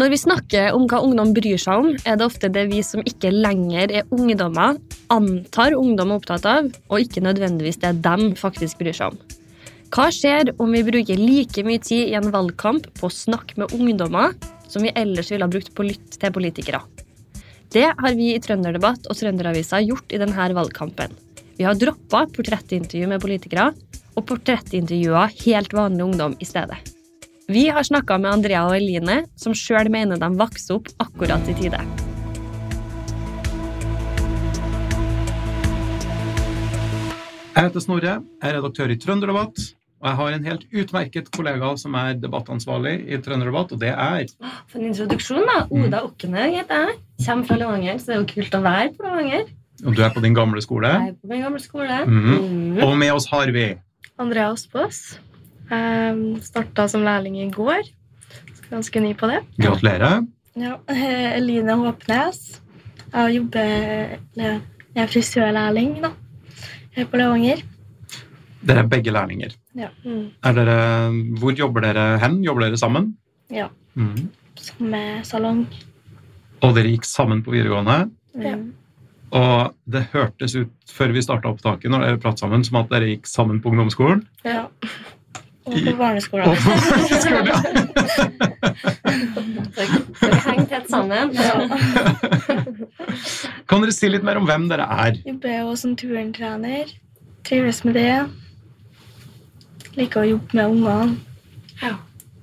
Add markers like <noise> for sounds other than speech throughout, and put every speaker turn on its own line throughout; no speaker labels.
Når vi snakker om hva ungdom bryr seg om, er det ofte det vi som ikke lenger er ungdommer, antar ungdom er opptatt av, og ikke nødvendigvis det dem faktisk bryr seg om. Hva skjer om vi bruker like mye tid i en valgkamp på å snakke med ungdommer som vi ellers ville ha brukt på å lytte til politikere? Det har vi i Trønderdebatt og Trønderavisa gjort i denne valgkampen. Vi har droppa portrettintervju med politikere og portrettintervjua helt vanlig ungdom i stedet. Vi har snakka med Andrea og Eline, som sjøl mener de vokser opp akkurat i tide.
Jeg heter Snorre, jeg er redaktør i Trønderdebatt. Og jeg har en helt utmerket kollega som er debattansvarlig i Trønderdebatt, og det er
For en introduksjon, da. Oda Okkenhaug heter jeg. Kommer fra Levanger, så det er jo kult å være på Levanger.
Og du er på din gamle skole.
Jeg er på min gamle skole. Mm.
Mhm. Og med oss har vi
Andrea Aasbås. Um, Starta som lærling i går. Ganske ny på det.
Gratulerer.
Ja, <laughs> Eline Håpnes. Jeg jobber Jeg er frisørlærling da. Her på Levanger.
Dere er begge lærlinger.
Ja.
Er dere, hvor jobber dere hen? Jobber dere sammen?
Ja.
Mhm.
Samme salong.
Og dere gikk sammen på videregående.
Ja.
Og det hørtes ut før vi starta opptaket, når dere pratet sammen, som at dere gikk sammen på ungdomsskolen.
ja. Og
I-
på
<laughs>
barneskolen.
Og på ungdomsskolen, ja.
Dere, dere henger tett sammen.
Ja.
Kan dere si litt mer om hvem dere er?
Jobber jo som turntrener. Trives med det. Liker å jobbe med ungene.
Ja.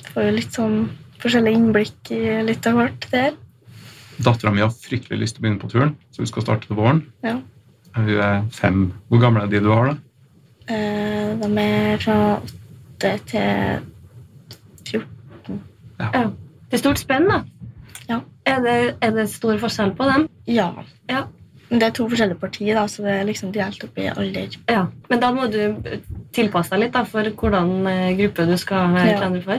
Får jo litt sånn forskjellig innblikk i litt av hvert der.
Dattera mi har fryktelig lyst til å begynne på turen, så hun skal starte til våren.
Ja.
Hun er fem. Hvor gamle er de du har, da?
Eh, De er fra 8 til
Det er stort spenn, da.
Ja.
Er det, er det stor forskjell på dem?
Ja.
Ja.
Men det er to forskjellige partier, da, så det er liksom delt opp i alder.
Ja. Men da må du tilpasse deg litt da, for hvordan eh, gruppe du skal være
Ja.
trener for.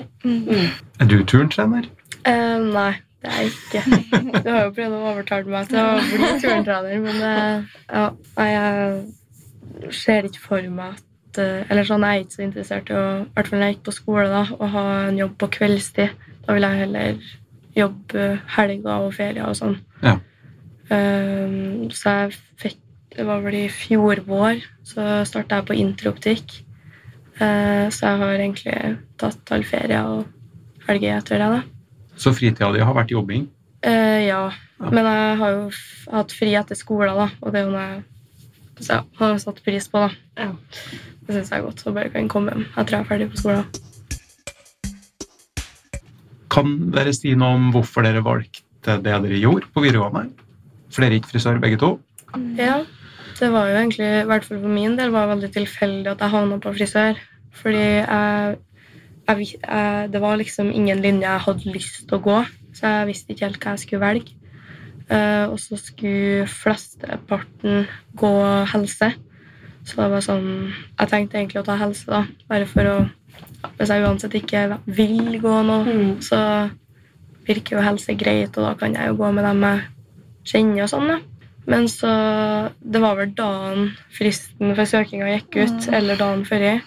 Er du turntrener?
Mm. Eh, nei, det er jeg ikke. <laughs> Du har jo prøvd å overtale meg til å bli turntrener, men eh, ja, nei, jeg ser ikke for meg at eh, Eller sånn, jeg er ikke så interessert i å I hvert fall når jeg gikk på skole, da, å ha en jobb på kveldstid. Da vil jeg heller jobbe helger og ferier og sånn.
Ja.
Eh, så jeg fikk Det var vel i fjor vår, så starta jeg på introoptikk. Eh, så jeg har egentlig tatt all ferie og helger etter det, da.
Så fritida di har vært jobbing.
Eh, ja.
Ja.
men jeg har jo f hatt fri etter skolen, da, og det er jo noe jeg så jeg har satt pris på. da.
Ja.
Det syns jeg er godt. Så bare kan komme hjem etter jeg er ferdig på skolen.
Kan dere si noe om hvorfor dere valgte det dere gjorde på videregående? For dere gikk frisør begge to.
Ja, Det var jo egentlig, i hvert fall for min del, var det veldig tilfeldig at jeg havna på frisør. Fordi jeg, jeg, vis- jeg, det var liksom ingen linje jeg hadde lyst til å gå, så jeg visste ikke helt hva jeg skulle velge. Eh, og så skulle flesteparten gå helse. Så det var sånn, jeg tenkte egentlig å ta helse, da, bare for å Hvis jeg uansett ikke vil gå noe,
Mm.
så virker jo helse greit, og da kan jeg jo gå med dem jeg kjenner og sånn, da. Men så Det var vel dagen fristen for søkinga gikk ut, eller dagen før jeg.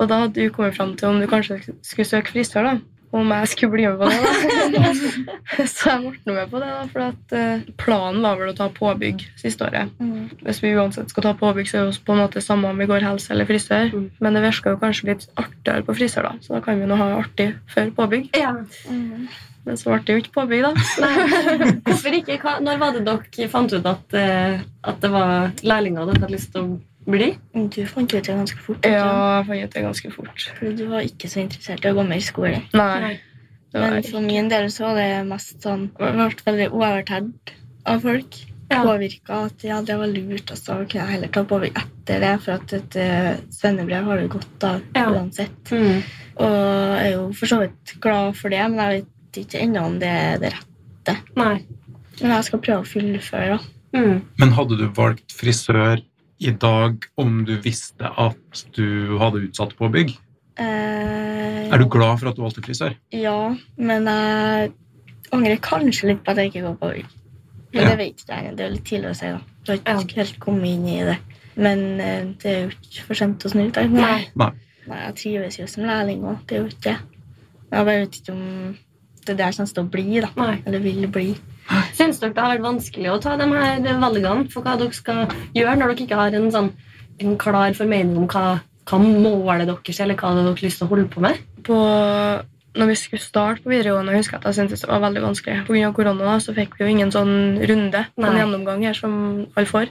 Og da hadde du kommet fram til om du kanskje skulle søke frisør, da. Om jeg skulle bli med på det, da. <laughs> så jeg ble nå med på det, da. For at eh, planen var vel å ta påbygg siste året. Hvis vi uansett skal ta påbygg, så er det jo på en måte samme om vi går helse eller frisør.
Mm.
Men det virka jo kanskje litt artigere på frisør, da. Så da kan vi nå ha artig før påbygg.
Ja.
Mm.
Men så ble det jo ikke påbygg, da.
Nei. Hvorfor ikke? Hva, når var det dere fant ut at, eh, at det var lærlinger dere hadde lyst til å bli?
Du fant ut det ganske fort. ikke sant?
<laughs> Mm. Ja, jeg fant ut det ganske fort.
For du var ikke så interessert i å gå med i skole.
Nei. Det var
Men for min del så var det mest sånn Jeg ble veldig overtatt av folk.
Ja.
Påvirka at ja, det var lurt, og så kunne jeg heller ta påvirk etter det, for at et eh, svennebrev har du godt av
Ja.
uansett.
Mm.
Og jeg er jo for så vidt glad for det, men jeg vet ikke ennå om det er det rette.
Nei.
Men jeg skal prøve å fullføre, da.
Mm.
Men hadde du valgt frisør i dag om du visste at du hadde utsatt påbygg?
Eh,
Er du glad for at du valgte frisør?
Ja, men jeg angrer kanskje litt på at jeg ikke går på Org. Men
Ja.
det vet ikke jeg. Det er litt tidlig å si. da. Jeg har ikke helt kommet inn i det. Men eh, det er jo ikke for sent å snu. Da.
Nei.
Nei.
Nei, Jeg trives jo som lærling òg. Det er jo ikke det. Men Jeg bare vet ikke om det er der som står bli, da.
Nei.
Eller vil bli.
Syns dere det har vært vanskelig å ta de her valgene for hva dere skal gjøre, når dere ikke har en, sånn, en klar formening om hva, hva målet deres er, eller hva dere har lyst til å holde på med?
på når vi skulle starte på videregående, jeg husker jeg at jeg syntes det var veldig vanskelig. Pga. korona da, så fikk vi jo ingen sånn runde,
Nei.
en gjennomgang her som alle får.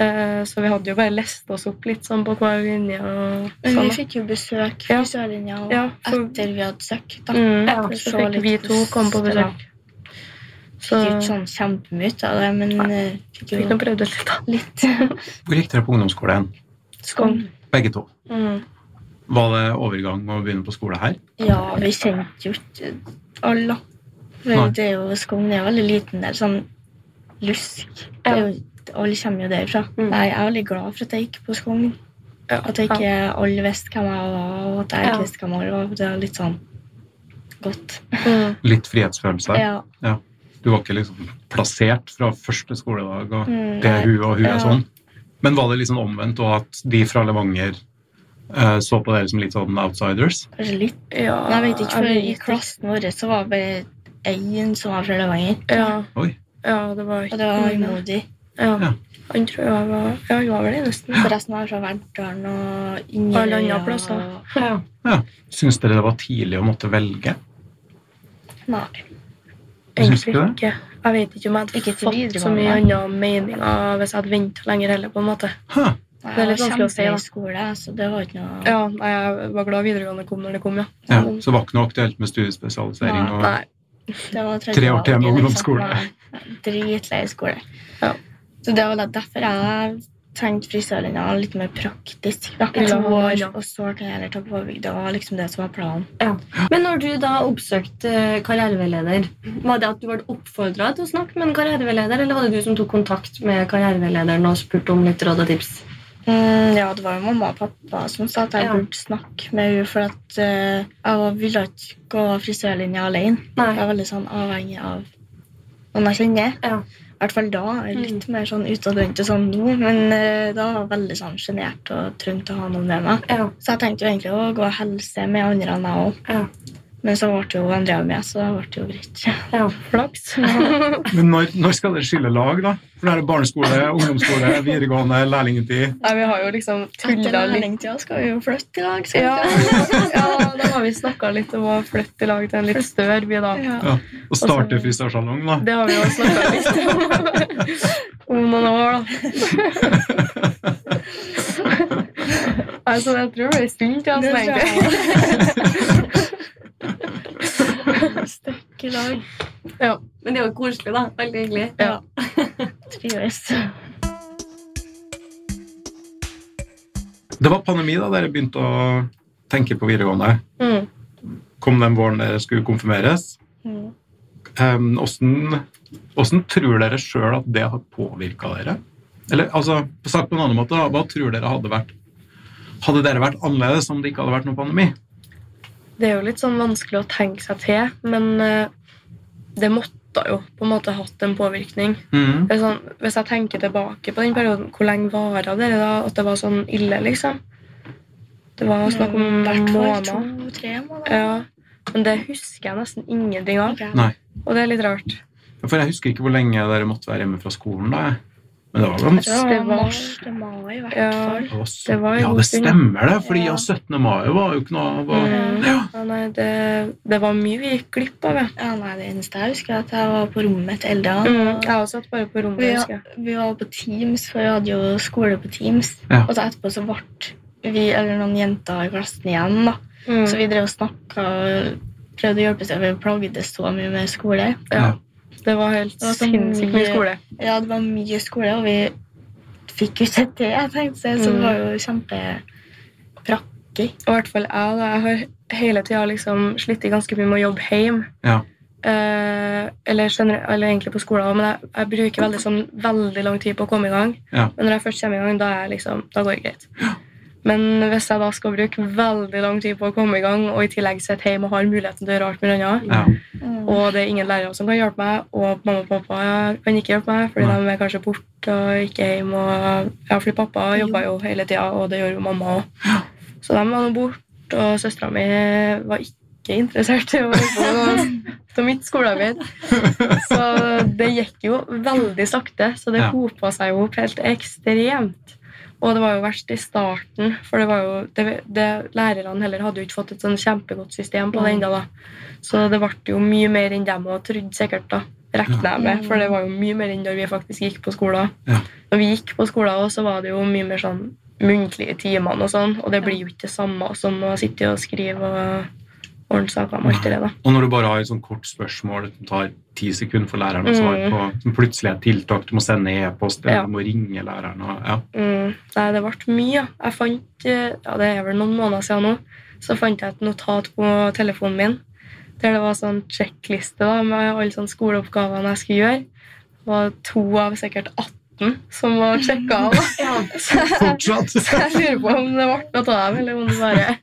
Eh, Så vi hadde jo bare lest oss opp litt sånn på hver linje. og
Men
sånn.
vi fikk jo besøk
Ja.
fra sørlinja og
Ja, for-
etter vi hadde søkt. da.
Mm,
Ja,
For å
så
se
fikk
litt
vi to
hvordan
komme på
det var.
besøk. Så
Fikk ikke sånn kjempemye ut av det, men eh, fikk
fikk
jo
nå prøvd ut litt, da.
litt.
Hvor gikk dere på ungdomsskolen?
Skong.
Begge to.
Mm.
Var det overgang å begynne på skole her?
Ja, vi kjente jo ikke alle. da.
Nei.
For det er jo Skogn er jo veldig liten der, sånn lusk. Det er jo, alle kommer jo derfra.
Mm.
Nei, jeg er veldig glad for at jeg gikk på Skogn.
Ja.
At jeg ikke alle visste hvem jeg var, og at jeg
Ja.
ikke visste hvem alle var. Det var litt sånn godt.
Mm.
Litt frihetsfølelse?
Ja.
Du var ikke liksom plassert fra første skoledag og
Mm,
det er hun og hun
Ja.
er sånn? Men var det liksom omvendt, og at de fra Levanger eh, så på dere som litt sånn outsiders?
Kanskje litt.
<laughs> Ja,
Men jeg vet ikke, for
jeg
i
vet
klassen vår så var det bare én som var fra Levanger,
ikke. Ja.
Oi.
ja, det var
og
ikke
det var modig.
Ja.
Ja. Han tror jeg var Ja, han var vel det, nesten.
Forresten var det fra Verdalen og Inderøy.
Alle andre
og-
plasser.
Syns dere det var tidlig å måtte velge?
Nei.
Syns du
Egentlig
ikke det?
ikke. Jeg vet ikke om jeg hadde
Ikke til
fått så
videregående.
mye andre meninger hvis jeg hadde venta lenger heller. på en måte.
Hæ?
Nei,
Det er litt
jeg var
vanskelig å si, da.
kjempegod i skole, så det var ikke noe
Ja, nei, Jeg var glad videregående kom når det kom, ja.
Ja, så det var ikke noe aktuelt med studiespesialisering? Og...
Mm. Nei,
Det var sånn-
Tre år til med ungdomsskole.
Dritlei skole.
Ja.
Så det var da derfor jeg tenkte frisørlinja var litt mer praktisk. Da.
Ja.
I to år,
Ja.
og så kan jeg heller ta på påbygg. Det var liksom det som var planen.
Men når du da oppsøkte eh, karriereveileder, var det at du ble oppfordra til å snakke med en karriereveileder, eller var det du som tok kontakt med karriereveilederen og spurte om litt råd og tips?
Mm, ja, det var jo mamma og pappa som sa at jeg
Ja.
burde snakke med henne, for at eh, jeg var- ville ikke gå frisørlinja alene.
Nei.
Jeg var veldig sånn avhengig av noen jeg kjenner.
Ja. Mm.
I hvert fall da. Jeg er litt mer sånn utadvendt og sånn nå, men eh, da var jeg veldig sånn sjenert og trengte å ha noen med meg.
Ja.
Så jeg tenkte jo egentlig å gå og helse med andre enn meg òg.
Ja.
Men så ble jo Andrea med, så da ble det jo greit. <laughs>
flaks.
Men når, når skal dere skille lag, da? For det er barneskole,
<laughs>
ungdomsskole, videregående, lærlingtid.
Nei, Vi har jo liksom
Etter
tulla litt.
lærlingtida skal vi jo flytte i dag. Skal
Ja,
vi
<laughs>
ikke? <laughs>
ja, da har vi snakka litt om å flytte i lag til en litt større by, da.
Ja.
Og
Altså,
starte frisørsalong, da.
Det har vi jo snakka litt om <laughs> om noen år, da. <laughs> Altså, jeg tror det blir stund til oss,
Det tror
egentlig. <laughs>
Stakk i lag.
Men det er jo koselig, da. Veldig
<laughs>
hyggelig.
Ja.
Trives.
Det var pandemi da dere begynte å tenke på videregående.
Mm.
Kom den våren dere skulle konfirmeres.
Mm.
Em, Hvordan hvordan Ehm, tror dere sjøl at det har påvirka dere? Eller altså, sagt på en annen måte, da, hva tror dere hadde vært Hadde dere vært annerledes om det ikke hadde vært noen pandemi?
Det er jo litt sånn vanskelig å tenke seg til, men eh, det måtte jo på en måte hatt en påvirkning.
Mhm.
Det er sånn, hvis jeg tenker tilbake på den perioden, hvor lenge varer det da? At det var sånn ille, liksom? Det var snakk om
I hvert
Mm, hvert
fall
måned.
to-tre måneder.
Ja, men det husker jeg nesten ingenting av,
Ok.
Nei.
og det er litt rart.
For jeg husker ikke hvor lenge dere måtte være hjemme fra skolen. da. jeg. Men det var vel
Jeg tror
Det
det var
var-
mars til mai, i hvert
Ja.
fall.
det var så,
Det var en
Ja,
god
det
stund.
stemmer det, fordi
Ja.
ja, 17. mai var jo ikke noe var,
Mm.
ja.
Ja, nei, det, det var mye vi gikk glipp av, ja.
Ja, nei, det eneste jeg husker, er at jeg var på rommet mitt hele dagen.
Mm. Jeg har satt bare på rommet,
Ja.
husker jeg.
Vi var på Teams, for vi hadde jo skole på Teams.
Ja.
Og så etterpå så ble vi eller noen jenter i klassen igjen, da. Så
Mm.
vi drev og snakka og prøvde å hjelpe seg, for vi plagde så mye med skole.
Ja. Det var helt
Det var så
sinnssykt mye
mye-
skole.
Ja, det var mye skole, og vi fikk jo sett det, jeg tenkte, så det
Mm.
var jo kjempe...
Og i hvert fall jeg, da, jeg har hele tida liksom slitt ganske mye med å jobbe hjemme.
Ja.
Eh, eller, generelt, eller egentlig på skolen, også, men jeg, jeg bruker veldig, sånn, veldig lang tid på å komme i gang.
Ja.
Men når jeg først kommer i gang, da, er jeg liksom, da går det greit. Men hvis jeg da skal bruke veldig lang tid på å komme i gang, og i tillegg sitter hjemme og har muligheten til å gjøre alt mulig annet,
Ja.
Mm.
og det er ingen lærere som kan hjelpe meg, og mamma og pappa kan ikke hjelpe meg, fordi
Nei.
de er kanskje borte og ikke hjemme. Og, ja, fordi pappa
Jo.
jobba jo hele tida, og det gjorde jo mamma òg. Så de var nå borte, og søstera mi var ikke ikke interessert i å holde på mitt
<laughs>
skolearbeid. Så det gikk jo veldig sakte, så det
Ja.
hopa seg jo opp helt ekstremt. Og det var jo verst i starten, for det var jo, det, det, lærerne heller hadde jo ikke fått et sånn kjempegodt system på det enda da. Så det ble jo mye mer enn dem og trodde sikkert da, rekna jeg med, for det var jo mye mer enn da vi faktisk gikk på skolen.
Ja.
Når vi gikk på skolen også, så var det jo mye mer sånn muntlige timene og sånn, og det blir jo ikke det samme som å sitte og skrive og ordne saker om alt det der, da.
Og når du bare har et sånn kort spørsmål som tar ti sekunder for læreren å svare
Mm.
på, som plutselig er et tiltak, du må sende e-post, eller
Ja.
du må ringe læreren og, ja.
Mm, nei, det ble mye. ja. Jeg fant, eh, ja, det er vel noen måneder siden nå, så fant jeg et notat på telefonen min der det var sånn sjekkliste da, med alle sånne skoleoppgavene jeg skulle gjøre. Det var to av sikkert 18 som var sjekka av. <laughs> Så <laughs>
Fortsatt!
jeg lurer på om det ble noe av dem, eller om det bare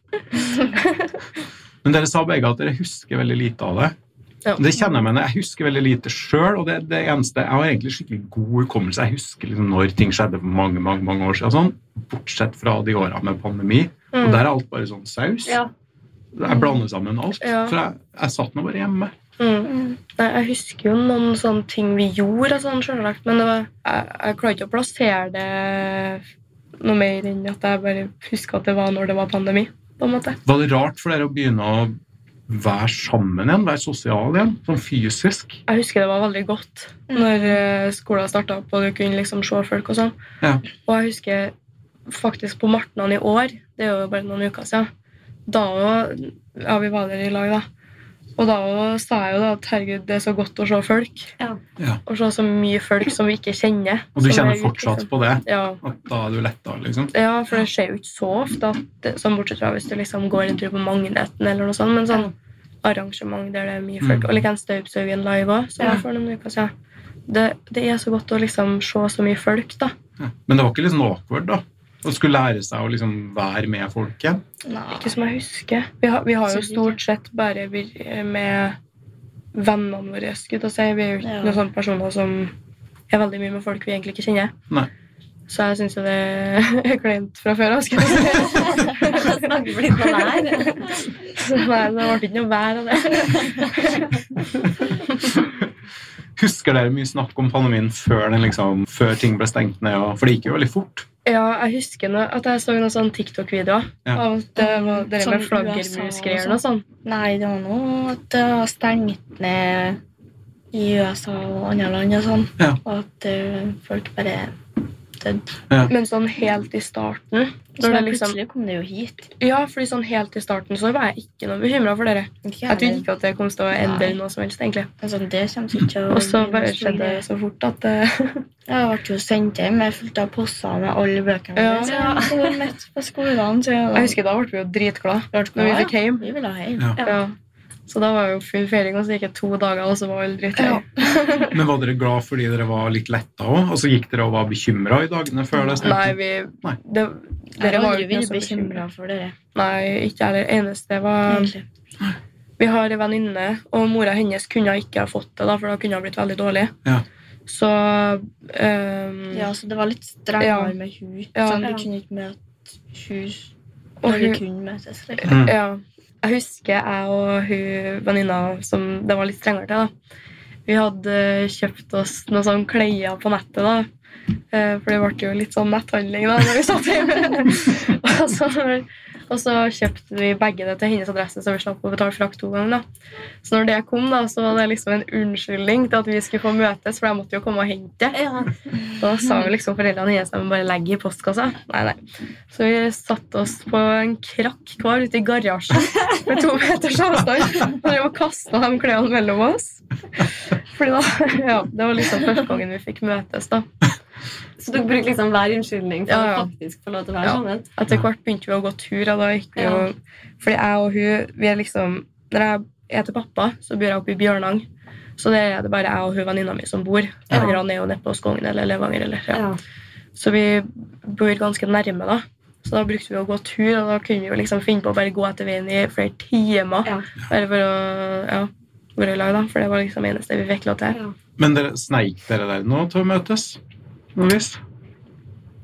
Men dere sa begge at dere husker veldig lite av det.
Ja.
Det kjenner jeg meg, når jeg husker veldig lite sjøl. Og det, det eneste, jeg har egentlig skikkelig god hukommelse. Jeg husker liksom når ting skjedde for mange mange, mange år siden. og Sånn. Bortsett fra de åra med pandemi. Og der er alt bare sånn saus.
Ja.
Jeg blander sammen alt.
Ja.
For jeg, jeg satt nå bare hjemme.
Mm.
Mm.
Nei, jeg husker jo noen sånne ting vi gjorde, og sånn, selvsagt, men det var, jeg, jeg klarer ikke å plassere det noe mer enn at jeg bare husker at det var når det var pandemi. på en måte.
Var det rart for dere å begynne å være sammen igjen? Være sosial igjen? Sånn fysisk?
Jeg husker det var veldig godt
Mm.
når eh, skolen starta opp, og du kunne liksom se folk og sånn.
Ja.
Og jeg husker faktisk på Martnan i år, det er jo bare noen uker siden, da jo- ja, vi var der i lag, da. Og da jo sa jeg jo da at herregud, det er så godt å se folk.
Ja.
Ja.
Og se så mye folk som vi ikke kjenner.
Og du
som
kjenner
er ute,
fortsatt
liksom.
på det?
Ja.
At da er du letta, liksom?
Ja, for det skjer jo ikke så ofte, at, det- sånn bortsett fra hvis du liksom går en tur på Magneten eller noe sånt, men sånn arrangement der det er mye
Mm.
folk, og like en Staupsaugen live òg, som
Ja.
jeg får noen uker siden. Det, det er så godt å liksom se så mye folk, da.
Ja. Men det var ikke litt sånn awkward, da? Å skulle lære seg å liksom være med folk igjen?
Nei.
Ikke som jeg husker. Vi har, vi har
Så
jo
mye.
stort sett bare vir- eh, med vennene våre, skulle jeg til å si. Vi er jo ikke
Ja.
noen sånne personer som er veldig mye med folk vi egentlig ikke kjenner.
Nei.
Så jeg syns jo det er <laughs> kleint fra før av, skulle jeg <laughs> til å si.
Snakker vi litt om det her?
Så Nei, det ble ikke noe vær av det.
Husker dere mye snakk om pandemien før, den liksom, før ting ble stengt ned? Og, for det gikk jo veldig fort.
Ja, jeg husker nå at jeg så noen sånne TikTok-videoer.
Ja.
Av at det var det
Sånn
med
USA
flaggermusgreier
og
og sånn.
Nei, det var noe at det var stengt ned i USA og andre land og sånn.
Ja.
Og at eh, folk bare døde.
Men sånn helt i starten
Så
når det liksom,
plutselig kom det jo hit.
Ja, fordi sånn helt i starten så var jeg ikke noe bekymra for dere.
Ikke
Jeg trodde
heller.
ikke at det kom til å endre
Nei.
noe som helst, egentlig.
Altså, det kommer sikkert til å
Og så
bli
bare
noe stor
skjedde
greie.
det så fort at eh,
Jeg ble jo sendt hjem. Jeg fulgte av poster med alle bøkene
Ja.
mine. Ja. Så midt på skolen. Så jeg,
Jeg husker da ble vi jo dritglade
Klart,
når vi
ja,
fikk hjem.
Vi ville ha hjem.
Ja.
Ja. Så da var jo full feiring, og så gikk det to dager, og så var alle
Ja.
drittlei.
Men var dere glad fordi dere var litt letta òg? Og så gikk dere og var bekymra i dagene før det
Nei,
stengte?
vi
Nei.
det,
Jeg
Dere
har
var
aldri
jo ikke
vært
så bekymra.
bekymra for dere.
Nei, ikke jeg. Det eneste var
egentlig.
Vi har en venninne, og mora hennes kunne ikke ha fått det, da, for da kunne hun ha blitt veldig dårlig.
Ja.
Så ehm, øhm,
Ja, så det var litt strengere
Ja.
med hun.
Ja.
Sånn, du
Ja.
kunne ikke møte hun
Og
når vi
hun-
kunne møtes. Liksom.
Mm.
ja. Jeg husker jeg og hun venninna som det var litt strengere til, da. Vi hadde kjøpt oss noen sånne klær på nettet, da. Eh, For det ble jo litt sånn netthandling da når vi satt hjemme. <laughs> og, så, og så kjøpte vi begge det til hennes adresse, så vi slapp å betale frakt to ganger. da. Så når det kom, da, så var det liksom en unnskyldning til at vi skulle få møtes, for jeg måtte jo komme og hente det. Og da sa jo liksom foreldrene hennes at de bare legger i postkassa. Nei, nei. Så vi satte oss på en krakk hver ute i garasjen med to meters avstand og drev og kasta de klærne mellom oss. Fordi da, ja, Det var liksom første gangen vi fikk møtes. da.
Så dere bruker liksom hver unnskyldning for
Ja, ja.
å faktisk få lov til å være
Ja.
sånn
sammen?
Etter hvert begynte vi å gå tur. Og da gikk vi jo, fordi jeg og hun vi er liksom, Når jeg er til pappa, så bor jeg oppe i Bjørnang. Så det er det bare jeg og hun venninna mi som bor.
Ja.
Eller han er jo nede på Skogn eller Levanger. eller ja.
Ja.
Så vi bor ganske nærme, da. Så da brukte vi å gå tur, og da kunne vi jo liksom finne på å bare gå etter veien i flere timer.
Ja.
Bare for å ja, være i lag, da. For det var liksom det eneste vi fikk lov til.
Ja.
Men dere sneik dere der nå til å møtes? På noe vis?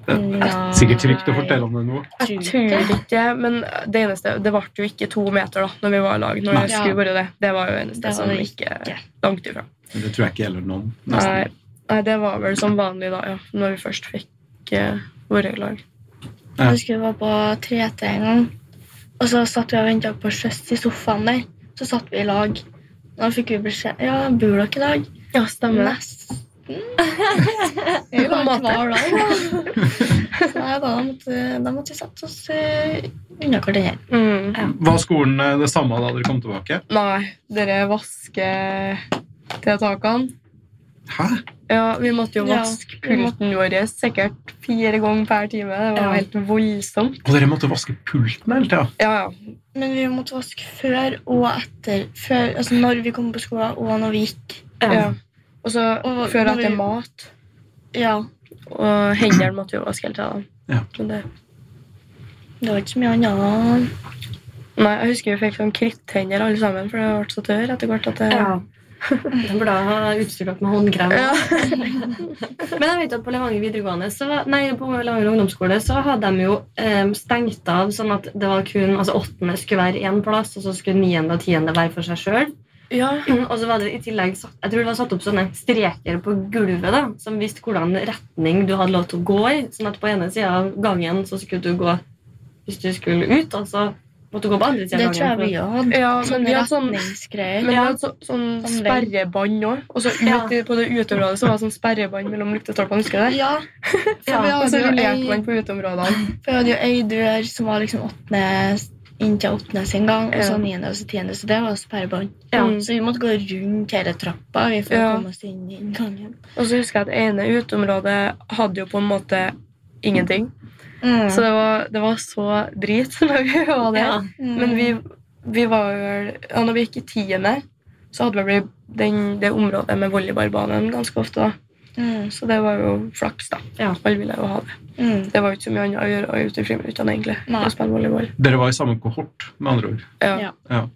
Nei.
Sikkert trygt å fortelle om det nå.
Jeg tror ikke, men det eneste, det ble jo ikke to meter da når vi var i lag. når
Nei.
jeg skulle være Det Det var jo det eneste
Det var
som
det
ikke
ikke.
langt ifra.
Men det tror jeg ikke gjelder noen.
Nei,
nesten.
nei, det var vel som vanlig da, ja, når vi først fikk eh, våre lag.
Ja.
Jeg husker vi var på 3T en gang, og så satt vi og venta på sjøs i sofaen der. Så satt vi i lag. Da fikk vi beskjed Ja, bor dere i lag?
Ja, stemmer det.
Nesten. Vi var
På en måte.
hver dag. da. Så nei, da måtte, da måtte vi sette oss eh, unna hverandre.
Mm.
Var skolen eh, det samme da dere kom tilbake?
Nei, dere vasketiltakene.
Hæ?
Ja, vi måtte jo
Ja,
vaske
vi må-
pulten vår sikkert fire ganger per time. Det var
Ja.
jo helt voldsomt.
Og dere måtte vaske pulten hele tida?
Ja, ja.
Men vi måtte vaske før og etter. Før, altså når vi kom på skolen, og når vi gikk.
ja. Og så
Og
før og
når
etter
vi-
mat.
Ja,
Og hendene måtte jo vaske hele tida.
Ja.
Det.
det var ikke så mye annet.
Nei, jeg husker vi fikk sånn kritthender alle sammen, for det ble så tørr etter hvert. at det...
Ja. De burde ha utstyrt dere med håndkrem.
Ja.
Men jeg vet at på Levanger videregående så, Nei, på Levanger ungdomsskole så hadde de jo em, stengt av sånn at det var kun, altså åttende skulle være én plass, og så skulle niende og tiende være for seg sjøl.
Ja.
Og så var det i tillegg satt, jeg tror det var satt opp sånne streker på gulvet da, som viste hvordan retning du hadde lov til å gå i. Sånn at på ene sida av gangen så skulle du gå hvis du skulle ut, og så måtte du gå på andre sida
Det
av
tror jeg
gangen.
vi hadde.
ja, men
Sånne
vi hadde sånn
retningsgreier.
men vi hadde så, sånn
Sånn vegg.
sperrebånd òg. Og så
Ja.
ute på det uteområdet så var det sånn sperrebånd mellom lyktestolpene. Husker du det?
Ja, for
Ja,
vi
Og
hadde
så
jo
rullerte
ei,
man på uteområdene.
for vi hadde jo ei dør som var liksom åttende, inntil åttende sin gang, og
Ja.
så niende og så tiende, så det var sperrebånd.
Ja.
Så vi måtte gå rundt hele trappa vi for
Ja.
å komme oss inn i gangen.
Og så husker jeg at ene uteområdet hadde jo på en måte ingenting.
Mm.
Så det var, det var så drit <laughs> når vi var der.
Ja.
Mm. Men vi, vi var vel ja, Når vi gikk i tiende, så hadde vi den, det området med volleyballbanen ganske ofte. da.
mm.
Så det var jo flaks, da.
Ja.
Alle ville jo ha det.
Mm.
Det var jo ikke så mye annet å gjøre ute i friminuttene, egentlig.
Nei.
Å spille volleyball.
Dere var i samme kohort, med andre ord.
Ja.
Ja.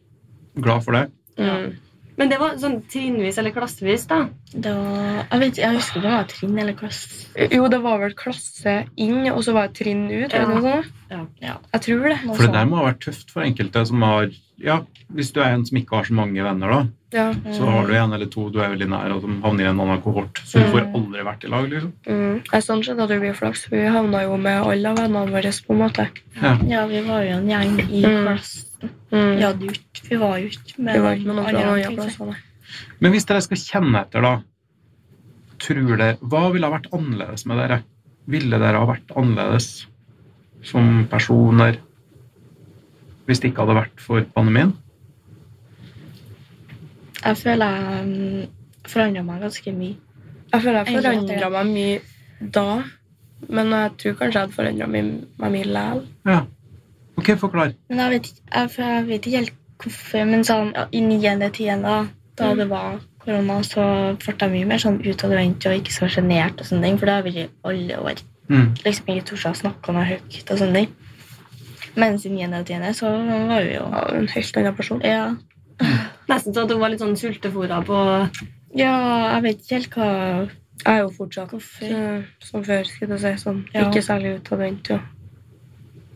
Glad for det.
Mm.
Men det var sånn trinnvis eller klassevis, da.
Det var, jeg, vet, jeg husker ikke om det var trinn eller klasse.
Jo, det var vel klasse inn, og så var det trinn ut.
Ja.
eller noe sånt.
Ja.
Ja.
Jeg tror det.
Noe
For det
sånt.
der må ha vært tøft for enkelte som har ja, Hvis du er en som ikke har så mange venner, da,
Ja.
så har du en eller to du er veldig nær, og som havner i en annen kohort. Så du får
Mm.
aldri vært i lag, liksom.
Mm. Jeg, sånn sett hadde vi flaks. for Vi havna jo med alle vennene våre. på en måte.
Ja, vi var jo en gjeng i
Mm.
klassen.
Mm.
Vi, hadde jo ikke- vi var jo ikke med
Vi var ikke med noen fra
andre, liksom.
andre
tenkte jeg.
plasser. nei.
Men hvis dere skal kjenne etter, da tror dere, Hva ville ha vært annerledes med dere? Ville dere ha vært annerledes som personer hvis det ikke hadde vært for pandemien?
Jeg føler jeg um, forandra meg ganske mye.
Jeg føler jeg
Egentlig at
forandra meg mye da, men jeg tror kanskje jeg hadde forandra meg mye likevel.
Ok, forklar.
Men jeg vet, ikke- jeg, for jeg vet ikke helt hvorfor, men sånn ja, i niende tiende, da, da
Mm.
det var korona, så ble jeg mye mer sånn utadvendt og ikke så sjenert og sånne ting, for det har jeg vært i alle år.
Mm.
Liksom ikke tort å snakke om det høyt og sånne ting. Mens i niende og tiende så var vi jo
Ja, en helt annen person.
Ja.
Nesten så at hun var litt sånn sultefòra på
Ja, jeg vet ikke helt hva
Jeg er jo fortsatt
Hvorfor?
eh, som før, skulle jeg si. Sånn.
Ja.
Ikke særlig utadvendt. Ja.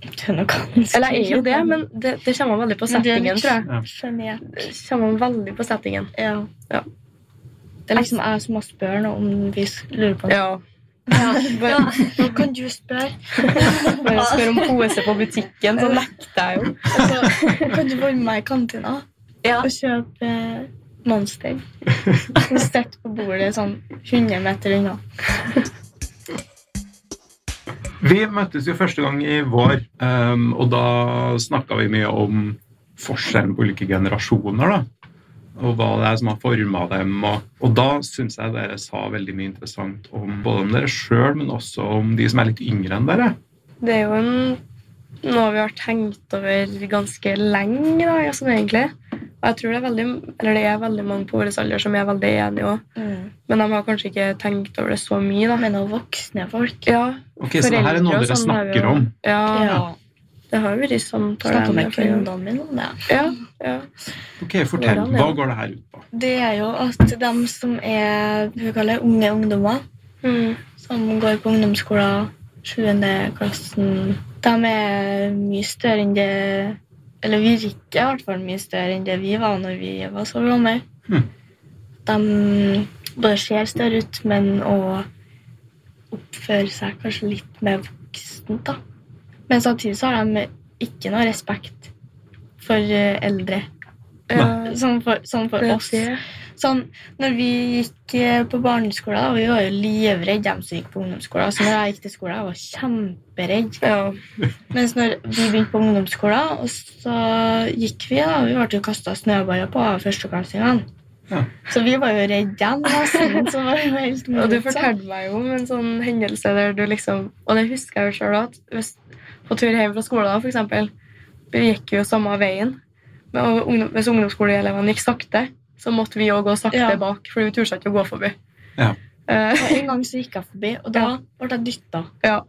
Det er noe annet.
Eller jeg er jo det, men det, det kommer veldig på
Men det er
settingen,
litt-
tror jeg.
Sjenert.
Det kommer veldig på settingen.
Ja.
Ja.
Det er liksom jeg som må spørre nå om vi s- lurer på noe.
Ja.
Ja.
Bare,
Nå kan du spørre.
bare spør om pose på butikken, så nekter jeg jo.
Altså, kan du være med meg i kantina
Ja.
og kjøpe eh, Monster? Som sitter på bordet sånn 100 meter unna.
Vi møttes jo første gang i vår, ehm, og da snakka vi mye om forskjellen på ulike generasjoner. da, Og hva det er som har forma dem. Og, og da syns jeg dere sa veldig mye interessant om både om dere sjøl, men også om de som er litt yngre enn dere.
Det er jo en, noe vi har tenkt over ganske lenge, da, ja, sånn egentlig. Og jeg tror det er veldig, eller det er veldig mange på vår alder som er veldig enige òg.
Mm.
Men de har kanskje ikke tenkt over det så mye, da.
Men også voksne folk.
Ja,
Ok, Så det her er
foreldre
noe
og
dere
sånn har vi
snakker
jo-
om.
Ja,
Ja.
det har jo vært sånn samtaler.
Snakka med
om det før,
kundene mine om det.
Ja, ja.
Ok, Fortell.
Hvordan, ja.
Hva går det her ut på? <laughs>
Det er jo at dem som er hva vi kaller unge ungdommer,
Mm.
som går på ungdomsskolen sjuende klassen De er mye større enn det Eller virker i hvert fall mye større enn det vi var når vi var så gamle.
Hmm.
De både ser større ut, men òg oppfører seg kanskje litt mer voksent, da. Men samtidig så har de ikke noe respekt for eh, eldre.
Nei.
Sånn for, sånn for
det er
oss.
det.
Sånn, når vi gikk eh, på barneskolen, da, vi var jo livredde dem som gikk på ungdomsskolen. Så når jeg gikk til skolen, jeg var kjemperedd.
Ja.
Mens når vi begynte på ungdomsskolen, og så gikk vi, da, vi ble jo kasta snøballer på av førsteklassingene.
Ja.
Så vi var jo redde dem. nesten, så var det jo helt
Og du
motsatt.
fortalte meg jo om en sånn hendelse der du liksom Og det husker jeg jo sjøl at hvis, på tur hjem fra skolen, da, for eksempel, vi gikk jo samme veien. Men og ungdom, hvis ungdomsskoleelevene gikk sakte, så måtte vi jo gå sakte
Ja.
bak, for vi turte ikke å gå forbi.
Ja.
Eh,
Og en gang så gikk jeg forbi, og da ble jeg dytta.
ja.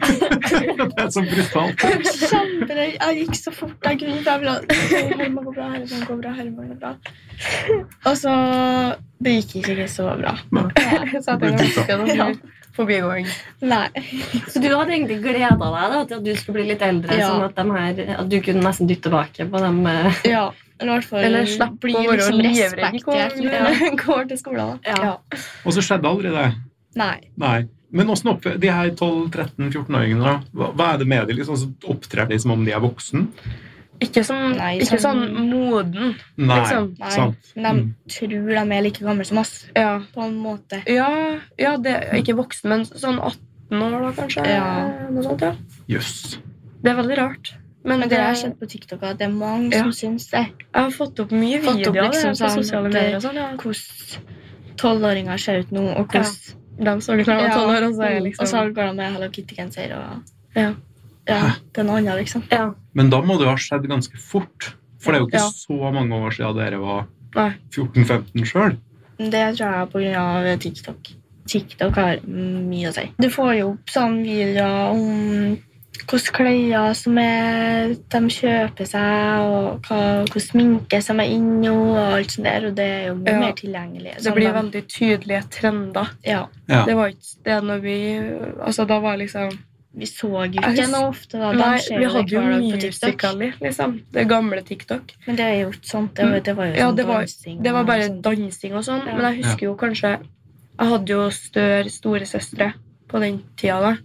Det er så brutalt.
Jeg var kjemperedd. Jeg gikk så fort jeg kunne. for Jeg ville Herman går bra, Herman går bra, Herman går bra. Og så Det gikk ikke så bra.
så jeg tenker ganske sånn
Ja.
forbigåing.
Nei.
Så du hadde egentlig gleda deg da, til at du skulle bli litt eldre,
Ja.
sånn at, dem her, at du kunne nesten dytte tilbake på dem. eh,
Ja, eller i hvert fall
Eller slapp
bli
å være
liksom
livredd
respektert.
når du går til skolen. da.
Ja.
Ja.
Og så skjedde aldri det.
Nei.
Nei. Men åssen oppfører de her 12-13-14-åringene? da? Hva, hva er det med dem? Liksom, så opptrer de som om de er voksen?
Ikke, sånn,
Nei,
ikke sånn
sånn-
moden.
Nei.
Liksom,
nei.
Sant.
Men de
Mm.
tror de er like gamle som oss,
Ja.
på en måte.
Ja, ja det, ikke voksen, men sånn 18 år, da, kanskje.
Ja.
Noe sånt, ja.
Jøss.
Det er veldig rart. Men,
Men det har jeg kjent på TikTok at det er mange
Ja.
som syns det.
jeg har fått opp mye
Fått opp
videoer det,
liksom
på
sånn
sosiale
at det-
medier. og sånn, ja.
Hvordan tolvåringer ser ut nå, og
Ja.
hvordan
De så klar over
Ja.
tolv år, og så Sånn er jeg
Og så
liksom
går de med Hello Kitty-genser og
Ja.
ja, det er noe annet, liksom.
Ja.
Men da må det jo ha skjedd ganske fort. For det er jo ikke
Ja.
så mange år siden dere var
Nei.
14-15 sjøl.
Det tror jeg er på grunn av TikTok. TikTok har mye å si. Du får jo opp sånne videoer om hvilke klær som er, de kjøper seg, og hva, hvordan sminke som er inne, og alt sånt der, og det er jo mye
Ja.
mer tilgjengelig. Sånn,
Det blir veldig tydelige trender.
Ja,
Ja.
Det var ikke det når vi Altså, da var liksom
vi så jo
Jeg
ikke
hus-
noe ofte, da. De
Nei,
ser
vi
det
hadde jo
hver dag på TikTok.
Musical.ly, liksom. Det gamle TikTok.
Men det er jo ikke sånt. Det var, det var jo
Ja,
sånn
det var-
dansing.
Det var
og
bare
sånn.
dansing og sånn,
Ja.
men jeg husker jo kanskje Jeg hadde jo større storesøstre på den tida, da.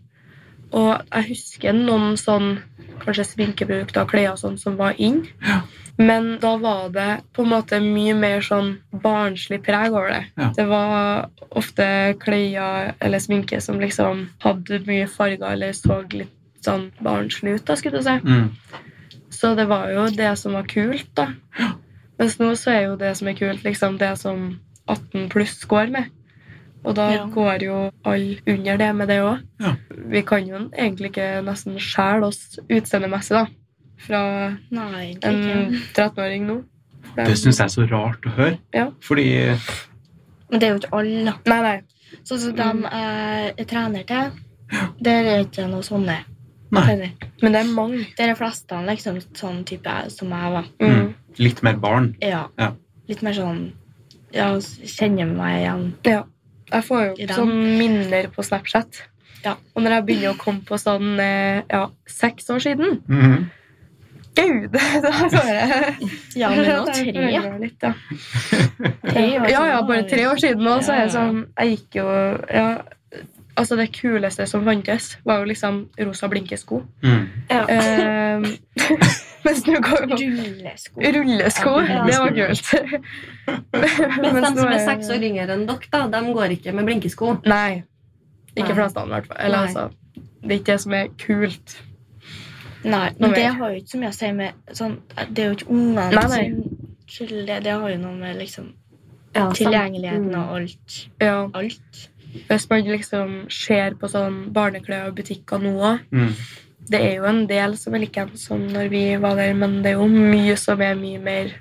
Og jeg husker noen sånn kanskje sminkeprodukter og klær og sånn som var inn.
Ja.
Men da var det på en måte mye mer sånn barnslig preg over det.
Ja.
Det var ofte klær eller sminke som liksom hadde mye farger eller så litt sånn barnslig ut, da, skulle du si.
Mm.
Så det var jo det som var kult, da. Mens nå så er jo det som er kult, liksom det som 18 pluss går med. Og da
Ja.
går jo alle under det med det òg.
Ja.
Vi kan jo egentlig ikke nesten skjære oss utseendemessig, da. Fra
Nei, det er
en
ikke.
13-åring nå.
Det syns jeg er så rart å høre.
Ja.
Fordi
Men det er jo ikke alle, da.
Nei, nei.
Sånn som de
um.
jeg er trener til, der er ikke noe sånn, sånne.
Nei.
Heller.
Men det er mange.
Det er de fleste liksom, sånn type som jeg var.
Mm.
Mm. litt mer barn.
Ja.
Ja.
Litt mer sånn Ja, kjenner meg igjen.
Jeg får jo
I den.
opp sånn minner på Snapchat.
Ja.
Og når jeg begynner å komme på sånn eh, ja, seks år siden
Mhm.
Gud! <laughs> Da bare
Ja, men nå tre.
Jeg føler meg Litt, ja.
tre år siden
Ja, ja,
Sånn,
var
bare
det.
tre år siden òg, så er jeg
Ja, ja.
sånn Jeg gikk jo ja, Altså, det kuleste som fantes, var jo liksom rosa blinkesko.
Mm.
Eh, <laughs> mens nå går jo
Rullesko.
Rullesko.
Ja.
Det var kult.
<laughs> Mens de som
nå
er seks år yngre enn dere, da, de går ikke med blinkesko.
Nei. Ikke
Nei.
flestene, i hvert fall. Eller
Nei.
altså Det er ikke det som er kult.
Nei,
Nå
men
vet
det
jeg.
har jo ikke så mye å si med sånn, Det er jo ikke ungene
Nei, nei.
sin skyld. Det- Det har jo noe med liksom,
Ja,
tilgjengeligheten
Mm.
og alt.
Ja.
alt.
Hvis man liksom ser på sånn barneklær og butikker nå òg,
Mm.
det er jo en del som er like som når vi var der, men det er jo mye som er mye mer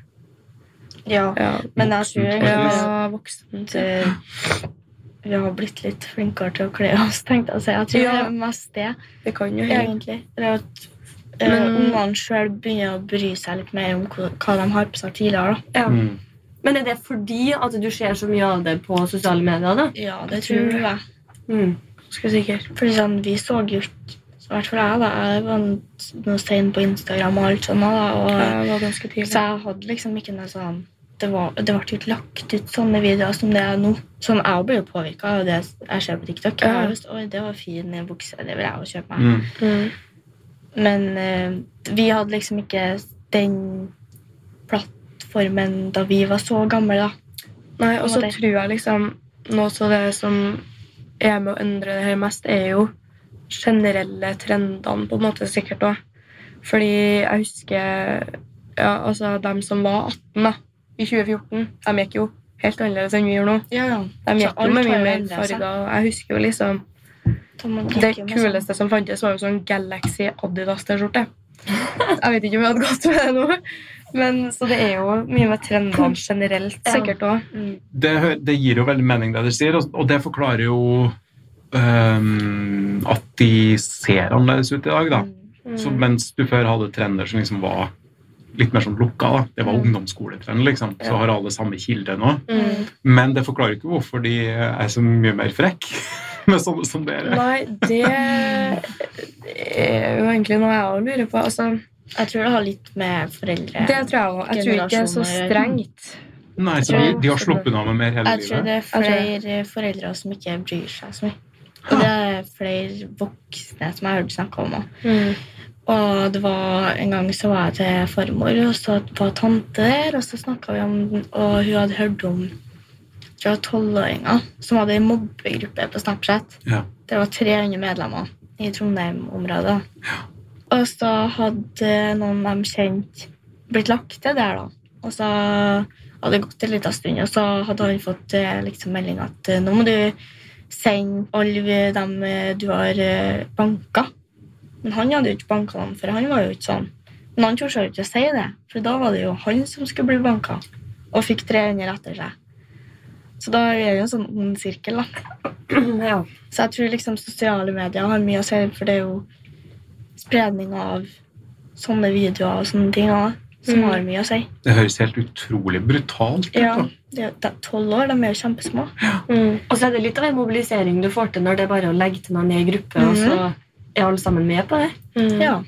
Ja,
ja,
men jeg tror
Voksent,
ja.
ja, voksent.
at eh, vi har blitt litt flinkere til å kle oss, tenkte jeg å si. Jeg tror det
Ja.
er mest det.
Det kan jo hende.
egentlig. Det er at eh,
Men-
ungene sjøl begynner å bry seg litt mer om hva, hva de har på seg tidligere. Da.
Ja.
Mm.
Men er det fordi at du ser så mye av det på sosiale medier? da?
Ja, det
tror
tror jeg.
Mm. <clears throat>
Skal sikkert.
Fordi sånn, vi så jo ikke I hvert fall jeg, da. Jeg var en- noe sein på Instagram og alt sånt. Da, og,
Det var ganske tidlig.
Så jeg hadde liksom ikke noe sånn det, var, det ble jo ikke lagt ut sånne videoer som det er nå. Sånn, Jeg blir jo påvirka av det jeg ser på TikTok. Jeg
Ja.
har lyst, Oi, det var fin bukse. Det vil jeg jo kjøpe meg.
Mm.
Mm.
Men eh, vi hadde liksom ikke den plattformen da vi var så gamle, da.
Nei, og så
måte.
tror jeg liksom Noe av det som er med å endre det her mest, er jo generelle trendene, på en måte, sikkert òg. Fordi jeg husker ja, altså dem som var 18 da, i 2014, de gikk jo helt annerledes enn vi gjør nå.
Ja, ja.
De
Så
gikk
alt
jo med
har
mye
jo
mer
endret seg.
farger. og Jeg husker jo liksom
Da må man
Det
drikke med sånn-
kuleste som fantes, var jo sånn Galaxy Adidas-T-skjorte. Jeg vet ikke om jeg hadde gått med det nå, men så det er jo mye med trendene generelt,
Ja.
sikkert òg.
det, hø- det gir jo veldig mening, det dere sier, og og det forklarer jo øhm, at de ser annerledes ut i dag. da.
Mm.
Mm.
Så mens du før hadde trender som liksom var litt mer sånn lukka, da. det var
Mm.
ungdomsskoletrend, liksom. så
Ja.
har alle samme kilde nå.
Mm.
Men det forklarer ikke hvorfor de er så mye mer frekk <laughs> med sånne som dere.
Nei, det er jo egentlig noe jeg òg lurer på. Altså,
sånn. Jeg tror det har litt med foreldre
det tror jeg òg. Jeg tror ikke det er så strengt.
Nei, så de, de har sluppet unna med mer hele
Jeg tror
livet.
det er
tror
flere foreldre som ikke bryr seg så mye. Og det er flere voksne som jeg har hørt snakke om òg. Og det var En gang så var jeg til farmor, og så var tante der, og så snakka vi om Og hun hadde hørt om jeg tror det var tolvåringer som hadde en mobbegruppe på Snapchat.
Ja.
Det var 300 medlemmer i Trondheim-området. Og så hadde noen de kjent blitt lagt til der, da. Og så hadde det gått en liten stund, og så hadde han fått eh, liksom, melding at eh, nå må du sende alle dem eh, du har eh, banka. Men han hadde jo ikke banka dem, for han var jo ikke sånn. Men han torde jo ikke å si det, for da var det jo han som skulle bli banka, og fikk 300 etter seg. Så da er det jo en sånn ond sirkel, da.
Ja.
Så jeg tror liksom sosiale medier har mye å si, for det er jo spredning av sånne videoer og sånne ting også, som
Mm.
har mye å si.
Det høres helt utrolig brutalt ut.
Ja,
da.
det er- det er Tolv år, de er jo kjempesmå.
Mm.
Og så er det litt av en mobilisering du får til når det er bare å legge til noen i en gruppe, og så er alle sammen med på det.
Ja.
Mm. Ja.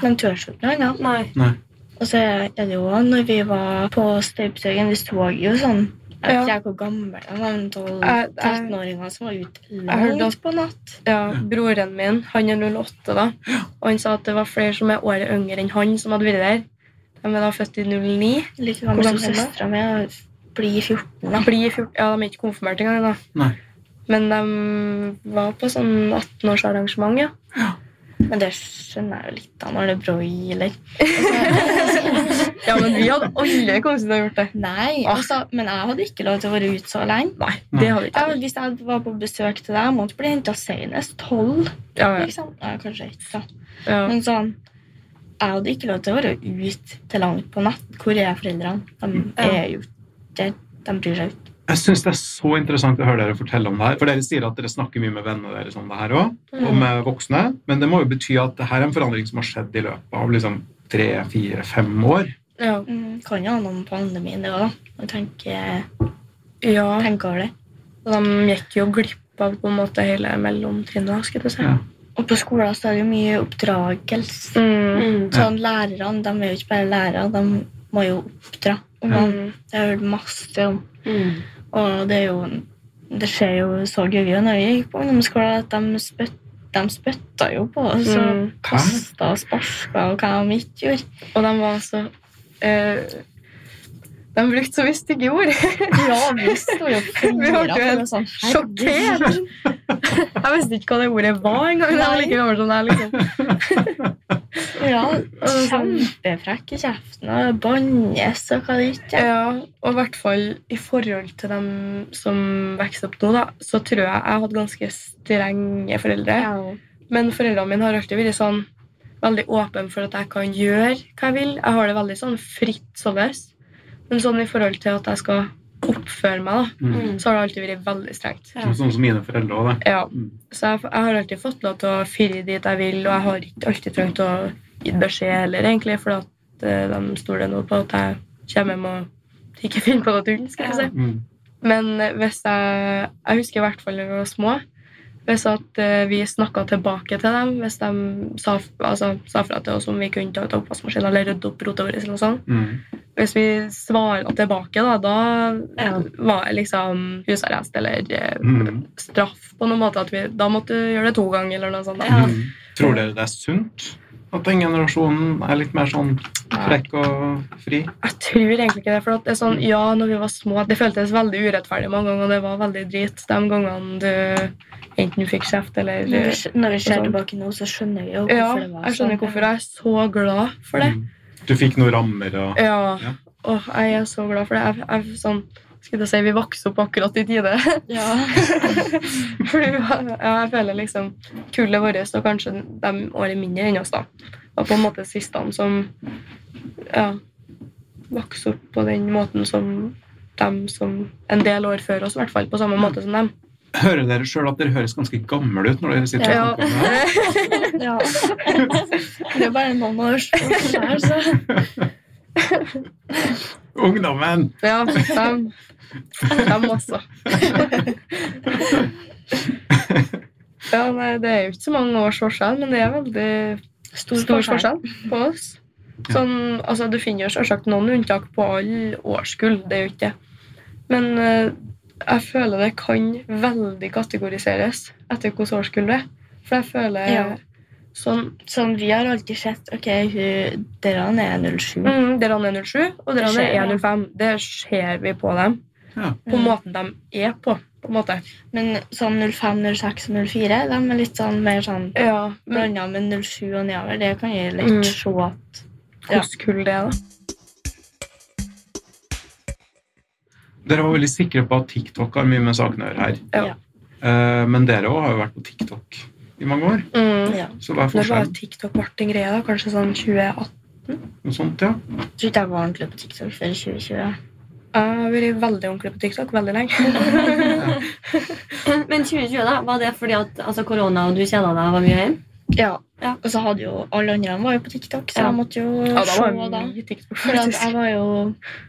De tør ikke noe annet.
Nei.
Og så er det jo også når vi var på støypsøken, vi så jo sånn Jeg vet
Ja.
ikke hvor gammel de var, men 12
Jeg- jeg-
13-åringer som var ute
hørte
langt på natt.
Ja, Broren min han er 08, da, og han sa at det var flere som er året yngre enn han, som hadde vært der. De er da født i 09.
Like
Hvor
gammel sånn som
gammel er de?
søstera mi. Blir 14, da.
Blir 14, ja, De er ikke konfirmert engang. da.
Nei.
Men de var på sånn 18-årsarrangement, ja.
Men det skjønner jeg jo litt av når det er broi, eller
Ja, men Vi hadde alle kommet til å ha gjort det.
Nei,
Ah.
altså, men jeg hadde ikke lov til å være ute så lenge.
Nei, det hadde ikke
Jeg, hvis jeg var på besøk til deg, jeg måtte bli henta senest tolv.
Ja, ja,
Liksom. Ja, kanskje ikke, da.
ja.
Men sånn Jeg hadde ikke lov til å være ute til langt på natt. Hvor er foreldrene? De
Mm.
er jo der. De bryr seg ikke.
Jeg synes det er så interessant å høre dere fortelle om det her. For dere sier at dere snakker mye med vennene deres om det her også,
Mm.
og med voksne. Men det må jo bety at det her er en forandring som har skjedd i løpet av liksom tre, fire, fem år.
ja.
Mm, kan jo ha noe med pandemien, det òg, da. Og tenke,
ja.
tenke over det.
Og de gikk jo glipp av på en måte hele mellomtrinnet. skulle jeg si.
Ja.
Og på skolen så er det jo mye oppdragelse.
Mm.
Sånn, Lærerne de er jo ikke bare lærere, de må jo oppdra. ungene.
Mm.
Det har jeg hørt masse om.
Mm.
Og det er jo Det skjer jo så gøy jo når vi gikk på ungdomsskolen, at de, spytt, de spytta jo på oss og
Mm.
kasta og sparka og hva de ikke gjorde.
Og de var så eh, De brukte så mye stygge ord. <laughs>
Ja, vi sto jo og sånn,
Vi
flira
var ikke
for
helt
noe sånt.
Sjokkert! Jeg visste ikke hva det ordet var engang. Jeg var like gammel som deg. liksom.
Ja, Kjempefrekk i kjeften og bannes og hva det ikke er.
Ja, og i hvert fall i forhold til dem som vokser opp nå, da, så tror jeg jeg hadde ganske strenge foreldre. Men foreldrene mine har alltid vært sånn veldig åpen for at jeg kan gjøre hva jeg vil. Jeg har det veldig sånn fritt så løs. Men sånn i forhold til at jeg skal oppføre meg, da,
Mm.
Mm.
så har det alltid vært veldig strengt.
Mm.
Ja.
Sånn som mine foreldre også, det.
Ja,
Mm.
Så jeg, jeg har alltid fått lov til å fyre dit jeg vil, og jeg har ikke alltid trengt å gi beskjed heller, egentlig, for at eh, de stoler nå på at jeg kommer hjem og ikke <laughs> finner på noe tull. skal jeg si. eh,
Mm.
Men hvis jeg, jeg husker i hvert fall når vi var små, Hvis at eh, vi snakka tilbake til dem, hvis de sa, altså, sa fra til oss om vi kunne ta ut oppvaskmaskinen eller rydde opp rotet vårt eller noe sånt.
Mm.
Hvis vi svara tilbake, da, da
Ja.
var det liksom husarrest eller eh,
Mm.
straff på noen måte. At vi, da måtte du gjøre det to ganger eller noe sånt. Da.
Ja.
Mm. Tror dere det er sunt at den generasjonen er litt mer sånn frekk og fri?
Jeg tror egentlig ikke det. for at det er sånn, ja, når vi var små, Det føltes veldig urettferdig mange ganger, og det var veldig drit de gangene du enten fikk kjeft eller
Når vi, skj- når vi ser
sånn.
tilbake nå, så skjønner vi jo hvorfor
Ja,
det var
jeg skjønner
sånn.
hvorfor. Jeg er så glad for det.
Mm. Du fikk noen rammer og
Ja,
Ja.
Åh, jeg er så glad for det. Jeg, jeg, sånn, skulle jeg si, Vi vokste opp akkurat i tide.
Ja. <laughs>
<laughs> Fordi ja, jeg føler liksom kullet vårt og kanskje de året mindre enn oss, da, var på en måte sistene som ja, vokste opp på den måten som dem som en del år før oss, i hvert fall på samme måte som dem.
Hører dere sjøl at dere høres ganske gamle ut når dere sitter og snakker
Ja.
om det? her?
ja.
<laughs>
Det er bare noen år siden her, så
Ungdommen!
ja, dem, dem også. Ja, nei, Det er jo ikke så mange års forskjell, men det er veldig
stor,
stor forskjell på oss. Sånn, altså, du finner jo selvsagt noen unntak på alle årskull, det er jo ikke det. Men eh, jeg føler det kan veldig kategoriseres etter hvilket årskull det er. For jeg føler
Ja.
sånn
Sånn, vi har alltid sett Ok, hun, dere er 07.
mm, Dere er 07, og
Det
dere
skjer, ja.
er 105. Det ser vi på dem.
Ja.
På
Mm.
måten de er på. på en måte.
Men sånn 05, 06 og 04 de er litt sånn mer sånn
Ja, men
blanda med 07 og nedover. Det kan jeg litt
Mm.
se at Ja.
hvordan kull det er, da?
Dere var veldig sikre på at TikTok har mye med saken å gjøre her.
Ja.
Eh, Men dere òg har jo vært på TikTok i mange år.
Mm.
ja.
Så hva er
Når var
forskjellen?
TikTok ble en greie, da? Kanskje sånn 2018?
Noe sånt, ja.
Jeg tror ikke jeg var ordentlig på TikTok før 2020.
Jeg har vært veldig ordentlig på TikTok veldig lenge.
<clears throat> Men 2020, da? Var det fordi at altså, korona og du kjeda deg og var mye hjemme?
<laughs> Ja.
Ja.
Og så hadde jo alle andre var jo på TikTok, så
Ja.
jeg måtte jo
Ja, da
se
var
da.
det mye TikTok,
For at
faktisk.
jeg var jo,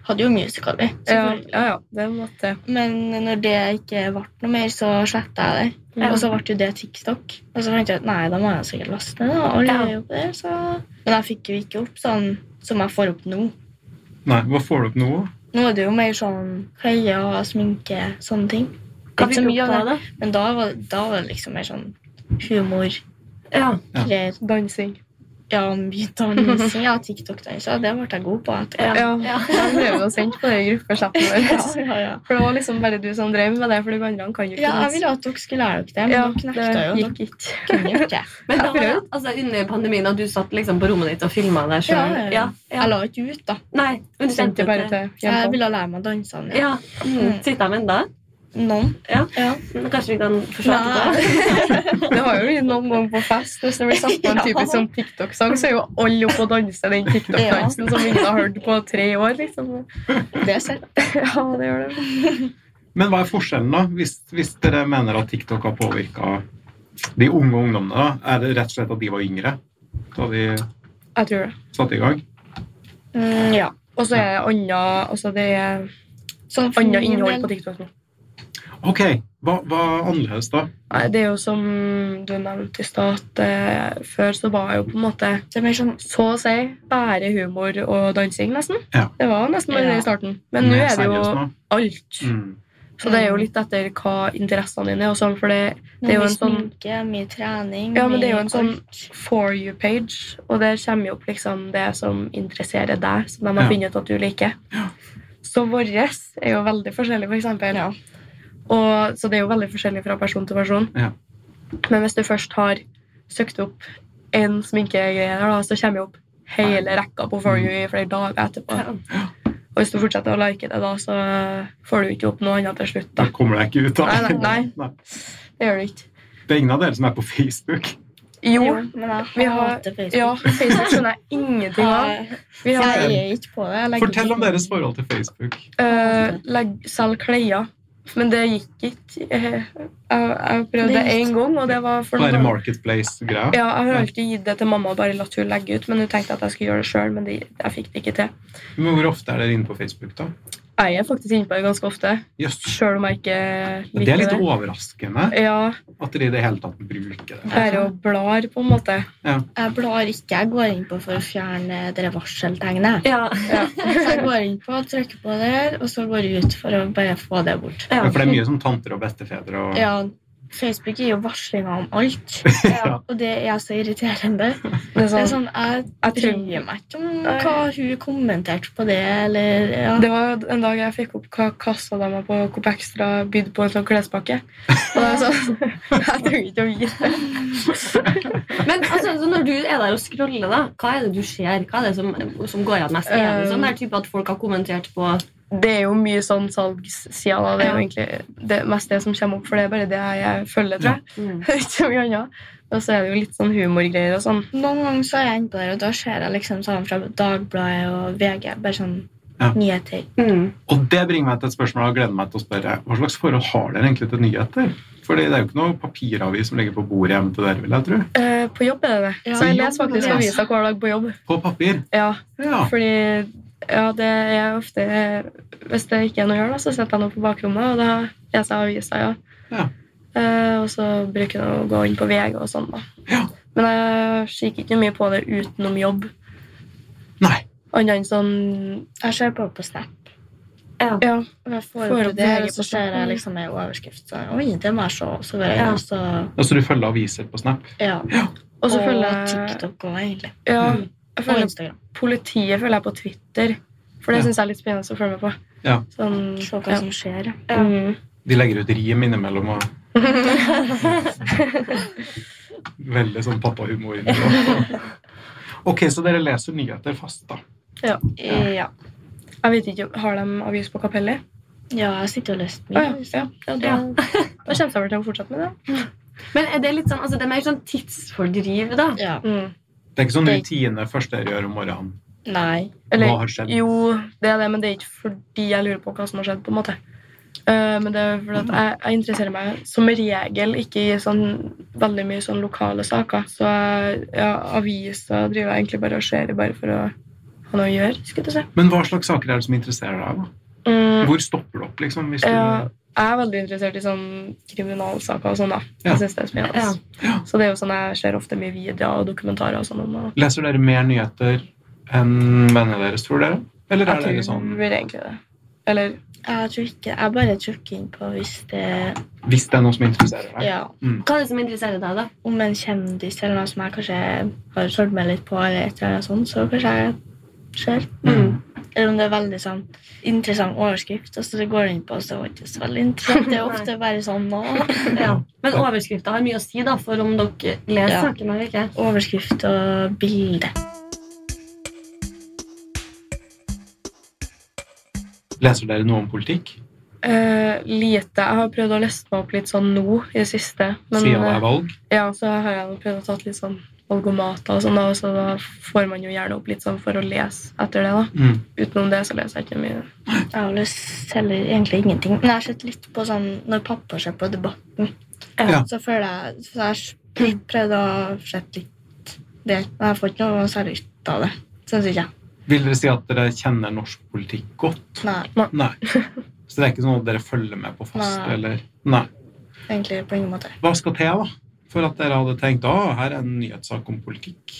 hadde jo musical, vi.
Ja,
selvfølgelig.
ja, ja, det måtte
Men når det ikke ble noe mer, så sletta jeg det.
Ja.
Og så ble jo det TikTok. Og så fant jeg ut nei, da må jeg sikkert laste ned. da. Alle
Ja.
gjør jo på det, så... Men jeg fikk jo ikke opp sånn som jeg får opp nå.
Nei, hva får du opp nå?
Nå er det jo mer sånn klær, sminke, sånne ting.
Hva
Ikke så
fikk du
mye
opp
av
av det?
Men da var, da var det liksom mer sånn humor,
Ja.
Ja.
klær
dansing.
Ja, mye
<laughs>
dansing. Ja, TikTok-danser. Det ble jeg god på. etterpå.
Ja.
Ja,
<laughs> Ja.
Jeg drev og sendte på det i gruppechatten
Ja,
vår.
ja, ja.
For det var liksom bare du som drev med det, for de andre kan jo ikke
Ja, jeg
danse.
ville at dere skulle lære dere det, men
Ja,
dere
det
nekta jo.
gikk ikke.
Dere kunne jo ikke.
Men da
Jeg
var det
prøvde.
altså, under pandemien at du satt liksom på rommet ditt og filma deg sjøl?
Ja, ja, ja. Jeg la ikke ut, da.
Nei, men du
Sendte
sendte
bare
det.
Jeg
til jenta.
ville lære meg dansene.
Ja. Mm. Sitter de ennå?
Noen.
Ja.
Ja.
Kanskje vi kan forsvare det?
Det har jo blitt noen ganger på fest. Hvis det blir satt på en
<laughs> Ja.
typisk sånn TikTok-sang, så er jo alle oppe og danser den TikTok-dansen som ingen har hørt på tre år. liksom.
Det er sett.
Ja, det gjør det.
Men hva er forskjellen, da? Hvis, hvis dere mener at TikTok har påvirka de unge ungdommene, da? Er det rett og slett at de var yngre da de
Jeg tror det.
satte i gang?
Mm, ja.
Og så er det annet- altså det er
Sånn for
annet
min
innhold
del-
på TikTok nå.
Ok, hva, hva er annerledes da?
Nei, Det er jo som du nevnte i stad, at eh, før så var jeg jo på en måte
Det er mer sånn
så å si bare humor og dansing, nesten.
Ja.
Det var nesten bare det
Ja.
i starten. Men nå
Mer
er det jo
seriøst nå?
alt.
Mm.
Så det er jo litt etter hva interessene dine er. og sånn, For det Det er jo
mye
en sånn-
sminke, mye trening
Ja, men det er jo
mye
en sånn-
alt.
For you-page, og der kommer jo opp liksom det som interesserer deg, som de har
Ja.
funnet ut at du liker.
Ja.
Så vår er jo veldig forskjellig, for eksempel.
Ja.
Og, så det er jo veldig forskjellig fra person til person.
Ja.
Men hvis du først har søkt opp en sminkegreie, der, da, så kommer jo opp hele rekka på For you
Mm.
i flere dager etterpå.
Ja.
Og hvis du fortsetter å like det, da, så får du ikke opp noe annet til slutt.
Da
da.
kommer jeg ikke ut da.
Nei, nei, Det gjør du ikke.
Det er ingen av dere som er på Facebook.
Jo,
Jo, men jeg
Vi har-
hater Facebook.
ja, Facebook skjønner jeg ingenting av.
Jeg,
Vi har
jeg er ikke på det. Jeg legger
Fortell
ikke-
om deres forhold til Facebook.
Uh, legg, selg klær. Men det gikk ikke. Eh, Jeg, jeg prøvde
Det gikk.
én gang, og det var for
Bare
noen-
Marketplace-greia.
Ja, Jeg har alltid gitt det til mamma og bare latt hun legge ut, men hun tenkte at jeg skulle gjøre det sjøl. Men det, jeg fikk det ikke til.
Men hvor ofte er dere inne på Facebook da?
Jeg er faktisk inne på det ganske ofte,
Jøss.
sjøl om jeg ikke
Det er
liker
litt
det.
overraskende
Ja,
at dere i det hele tatt bruker det.
Bare og blar, på en måte.
Jeg blar ikke. Jeg går inn på for å fjerne det varseltegnet.
Ja,
Ja.
Så jeg går inn på, trykker på der, og så går jeg ut for å bare få det bort.
ja.
Ja, For det er mye som tanter og bestefedre og
Ja, Facebook gir jo varslinger om
<laughs>
alt,
Ja.
og det er så irriterende.
Det er
Det er
sånn,
sånn, Jeg
jeg tror
bryr meg ikke om hva hun kommenterte på det, eller ja.
Det var en dag jeg fikk opp hva kassa de har på Coop Extra bydde på en sånn klespakke. Og da er jeg sånn, <laughs> Jeg trenger ikke å vite det.
Men altså, så når du er der og scroller, da, hva er det du ser? Hva er det som, som går igjen mest? Er det sånn der type at folk har kommentert på
Det er jo mye sånn salgssida. da. Det er jo egentlig det meste som kommer opp, for det er bare det jeg følger, tror jeg. <laughs>
mm.
Det er ikke så mye annet. Og så er det jo litt sånn humorgreier og sånn.
Noen ganger så er jeg inne på der, og da ser jeg liksom sånn fra Dagbladet og VG. Bare sånn
Ja.
nyheter.
Mm.
Og det bringer meg til et spørsmål jeg gleder meg til å spørre. Hva slags forhold har dere egentlig til nyheter? Fordi det er jo ikke noe papiravis som ligger på bordet hjemme til dere, vil jeg tro.
Eh, på jobb er det det.
Ja,
så
på
jeg leser
jobb
faktisk
leser.
aviser hver dag på jobb.
På papir.
Ja,
Ja.
fordi ja, det er ofte Hvis det ikke er noe å gjøre, da, så setter jeg noe på bakrommet, og da leser jeg aviser, ja.
Ja.
Eh, og så bruker jeg å gå inn på VG og sånn, da.
Ja.
Men jeg kikker ikke mye på det utenom jobb.
Nei.
Annet enn sånn
Jeg ser på på Snap.
Ja.
Og jeg får
Får
opp
opp
det,
VG
og så
på
ser
Snap.
jeg liksom en overskrift. Så, Oi, det må jeg se. Og så går jeg inn,
Ja.
og så
Altså, du følger aviser på Snap?
ja.
Og så følger
Og
jeg
TikTok og egentlig.
ja,
Mm.
jeg
Og
følger
Instagram.
Politiet følger jeg på Twitter, for det
Ja.
syns jeg er litt spennende å følge med på.
Ja.
Sånn,
Se hva
ja.
som skjer. ja.
Ja.
Mm.
De legger ut rim innimellom
<laughs>
og Veldig sånn pappahumor. innimellom. Ok, så dere leser nyheter fast, da.
Ja.
Jeg vet ikke, Har de avis på kapellet?
ja, jeg sitter og leser
Å,
mye.
ja. Ja. Ja, da,
Ja.
da kommer jeg vel til å fortsette med det.
Men er det litt sånn, altså det er mer sånn tidsfordriv, da?
Ja.
Mm.
Det er ikke sånn
Det-
rutine første dere gjør om morgenen.
Nei.
Hva
Eller,
har skjedd?
jo, det er det, men det er ikke fordi jeg lurer på hva som har skjedd. på en måte. Eh, men det er fordi at jeg, jeg interesserer meg som regel ikke i sånn veldig mye sånn lokale saker. Så jeg- ja, aviser driver jeg egentlig bare og ser i bare for å ha noe å gjøre. skulle jeg si.
Men hva slags saker er det som interesserer deg? da?
Mm,
Hvor stopper det opp, liksom? Hvis du...
jeg, jeg er veldig interessert i sånn kriminalsaker og sånn. da.
Ja.
Jeg synes det er spennende. altså.
Ja.
Så det er jo sånn jeg ser ofte mye videoer og dokumentarer og sånn. om, Og
Leser dere mer nyheter enn vennene deres, tror dere? Eller er dere
jeg tror
sånn
egentlig det. Eller
Jeg tror ikke Jeg bare trykker inn på hvis det
Hvis det er noe som interesserer deg?
Ja.
Hva er det som interesserer deg, da?
om en kjendis eller noe som jeg kanskje har solgt meg litt på, eller et eller annet sånt, så kanskje jeg ser.
Mm.
Eller om det er veldig sånn interessant overskrift, og så går du inn på, og så var det ikke så veldig interessant.
<laughs>
Det er ofte bare sånn nå.
Ja. Men overskrifta har mye å si da, for om dere leser
Ja.
saken eller ikke.
Overskrift og bilde.
Leser dere noe om politikk?
Eh, lite. Jeg har prøvd å løsne meg opp litt sånn nå i det siste. Men
Siden det
eh,
er valg?
ja, så har jeg jo prøvd å tatt litt sånn valgomater og sånn, da, og så da får man jo gjerne opp litt sånn for å lese etter det, da.
Mm.
Utenom det så leser jeg ikke mye.
Jeg har lyst heller egentlig ingenting. Men jeg har sett litt på sånn når pappa ser på Debatten,
Ja.
så føler jeg Så jeg prøvde å sette litt der, men jeg får ikke noe særlig ut av det. Syns ikke jeg.
Vil dere si at dere kjenner norsk politikk godt?
Nei,
<laughs>
Nei. Så det er ikke sånn at dere følger med på fast?
Nei.
eller? Nei.
egentlig på ingen måte.
Hva skal til da, for at dere hadde tenkt å, her er en nyhetssak om politikk?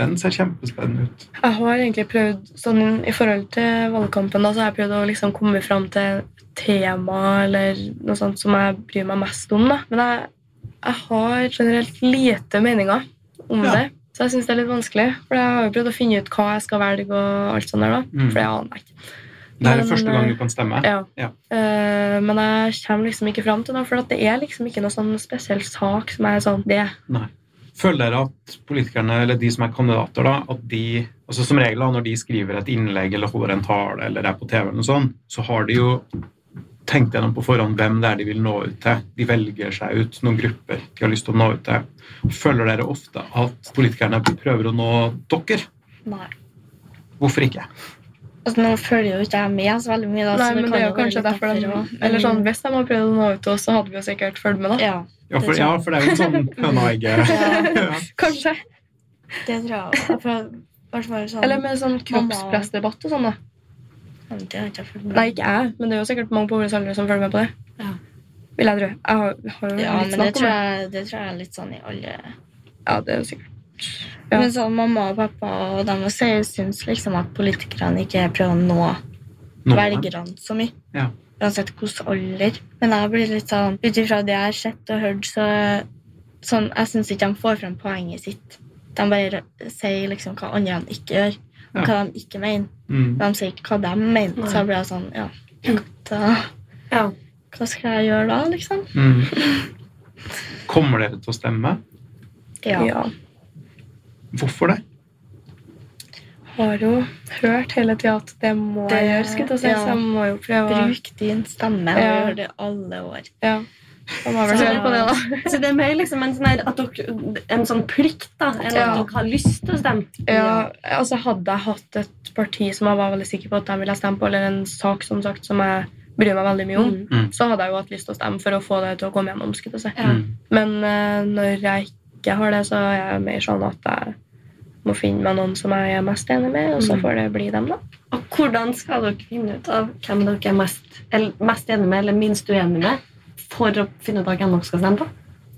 Den ser kjempespennende ut.
Jeg har egentlig prøvd sånn i forhold til valgkampen, da, så har jeg prøvd å liksom komme fram til et tema eller noe sånt som jeg bryr meg mest om, da. Men jeg, jeg har generelt lite meninger om
Ja.
det. Så jeg syns det er litt vanskelig, for jeg har jo prøvd å finne ut hva jeg skal velge og alt sånt der, da.
Mm.
For det aner jeg ikke.
Det her er
Men,
første gang du
eh,
kan stemme.
Ja.
Ja.
Eh, men jeg kommer liksom ikke fram til noe, for at det er liksom ikke noe sånn spesiell sak som er sånn det.
Nei. Føler dere at politikerne, eller de som er kandidater, da, at de altså Som regel da, når de skriver et innlegg eller holder en tale eller er på TV, eller noe sånt, så har de jo tenkt gjennom på forhånd hvem det er de vil nå ut til. De velger seg ut noen grupper de har lyst til å nå ut til. Føler dere ofte at politikerne prøver å nå dere?
Nei.
Hvorfor ikke?
Altså, nå følger jo ikke jeg med så veldig mye. Da,
Nei,
så
men
Altså, kan
det er jo
være
kanskje
litt
derfor de
også.
Eller sånn,
Men-
Hvis de hadde prøvd å nå ut til oss, så hadde vi jo sikkert fulgt med, da. <laughs>
Ja,
Ja, for,
Det tror jeg.
ja, for det er jo en sånn høna og egget.
ja,
Ja.
Kanskje.
det tror jeg. også. For, i hvert fall sånn,
Eller med sånn kroppspressdebatt og sånn, da.
Men det har ikke jeg følt med.
Nei, ikke jeg, men det er jo sikkert mange på vår alder som følger med på det.
Ja.
Vil jeg tro. Jeg har, har jo
Ja,
litt
men det
snakk om
tror,
det.
jeg, det tror jeg er litt sånn i alle
Ja, det er jo sikkert. Ja.
Men sånn mamma og pappa og dem også jeg syns liksom at politikerne ikke prøver å nå
Noen av dem.
velgerne så mye.
Ja.
Uansett hvilken alder. Men jeg blir litt sånn Ut ifra det jeg har sett og hørt, så sånn, Jeg syns ikke de får frem poenget sitt. De bare sier liksom hva andre de ikke gjør, og
Ja.
hva de ikke mener.
Mm.
De sier ikke hva de mener. Så jeg blir jeg sånn Ja, da,
Ja.
hva skal jeg gjøre da, liksom?
Mm. Kommer dere til å stemme?
Ja.
Ja.
Hvorfor det?
Har jo hørt hele tida at det må
Det-
jeg gjøre, skulle jeg til å si,
ja.
så jeg må jo prøve å
Bruk din stemme. og
Ja.
Gjør det alle år.
Ja. Jeg må vel
Så-
høre på det, da.
Så det er mer liksom en sånn, her, at dere, en sånn plikt da, enn at
Ja.
dere har lyst til å stemme.
Ja, altså Hadde jeg hatt et parti som jeg var veldig sikker på at de ville stemme på, eller en sak som sagt som jeg bryr meg veldig mye om,
Mm.
så hadde jeg jo hatt lyst til å stemme for å få det til å komme gjennom. skulle jeg til å si.
Ja.
Mm.
Men eh, når jeg ikke har det, så er jeg mer sånn at jeg må finne meg noen som jeg er mest enig med, og så
Mm.
får det bli dem, da.
Og hvordan skal dere finne ut av hvem dere er mest, eller, mest enig med, eller minst uenig med, for å finne ut av hvem dere skal stemme på?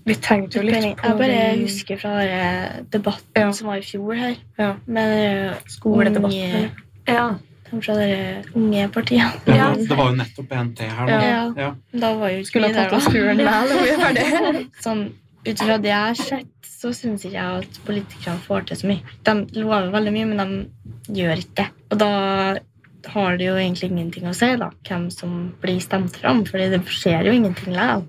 Vi tenkte jo litt
Jeg
på
bare
den
husker fra eh, debatten
Ja.
som var i fjor her.
Ja.
Med eh,
skoledebatten.
unge-
eller?
Ja.
De fra de unge partiene.
Det,
Ja.
var, det var jo nettopp en til her.
Ja.
Da.
Ja.
Ja.
Da var jo ikke
Skulle
vi
ha
der,
tatt oss turen der, da vi er
da.
ferdige.
<laughs> Sånn, ut fra det jeg har sett, så syns ikke jeg at politikerne får til så mye. De lover veldig mye, men de gjør ikke det. Og da har det jo egentlig ingenting å si da, hvem som blir stemt fram, fordi det skjer jo ingenting likevel.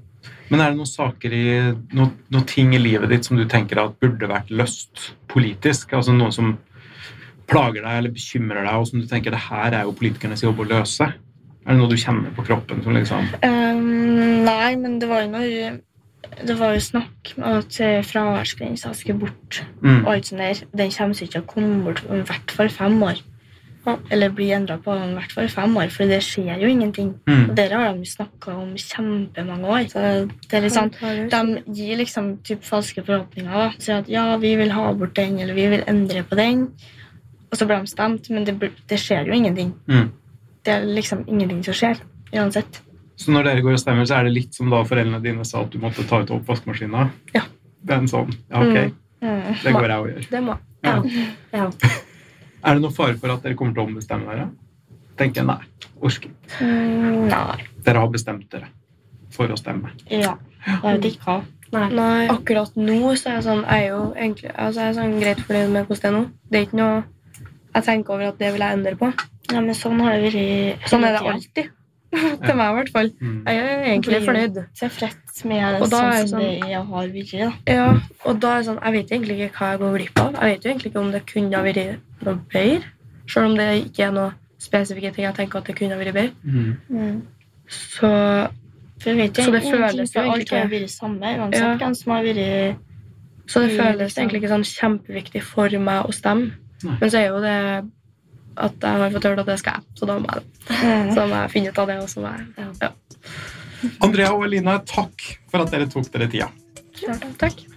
Men er det noen saker i noen, noen ting i livet ditt som du tenker at burde vært løst politisk? Altså noe som plager deg eller bekymrer deg, og som du tenker det her er jo politikernes jobb å løse? Er det noe du kjenner på kroppen? Som liksom,
Ehm, nei, men det var jo noe det var jo snakk om at eh, fraværsgrensa skulle bort.
mm,
og alt sånt der. Den kommer ikke til å komme bort om i hvert fall fem år.
Ja.
Eller bli endra på om i hvert fall fem år, for det skjer jo ingenting.
mm,
Og dere har de jo snakka om kjempemange år. Så det er litt sånn De gir liksom typ falske forhåpninger. da. Sier at ja, vi vil ha bort den, eller vi vil endre på den. Og så blir de stemt, men det, blir- det skjer jo ingenting.
mm.
Det er liksom ingenting som skjer. Uansett.
Så når dere går og stemmer, så er det litt som da foreldrene dine sa at du måtte ta ut oppvaskmaskina?
Ja.
Det er en sånn, ja, ok,
Mm.
det går jeg og gjør.
Det må
Ja. ja.
Er det noen fare for at dere kommer til å ombestemme dere? Tenker jeg, nei, orker ikke.
Mm, Nei.
Dere har bestemt dere for å stemme.
Ja. Jeg vet ikke hva.
Nei.
Nei. Akkurat nå så er jeg sånn Jeg er jo egentlig altså jeg er sånn greit fornøyd med hvordan det er nå. Det er ikke noe jeg tenker over at det vil jeg endre på.
Ja, men sånn har det vært.
Sånn er det
hele tiden.
alltid. <laughs> Til meg, i hvert fall.
Mm.
Jeg er egentlig fornøyd.
Tilfreds med
Og
det
da er
sånn
det
som
sånn-
det jeg har vært. da.
Ja, og da er det sånn, Jeg vet egentlig ikke hva jeg går glipp av. Jeg vet jo egentlig ikke om det kunne ha vært noe bedre. Selv om det ikke er noe spesifikke ting jeg tenker at det kunne ha vært bedre.
Mm.
Så
For jeg vet jo
Så det
ingenting,
føles
for
jo
alt
egentlig
har
ikke-
vært samme, uansett
Ja.
hvem som har vært
Så det
Mm,
føles
liksom.
egentlig ikke sånn kjempeviktig for meg å stemme.
Nei.
Men så er jo det at jeg har fått hørt at det skal jeg, så da må jeg, så da må jeg finne ut av det. og så må jeg...
Andrea og Elina, takk for at dere tok dere tida.
Takk.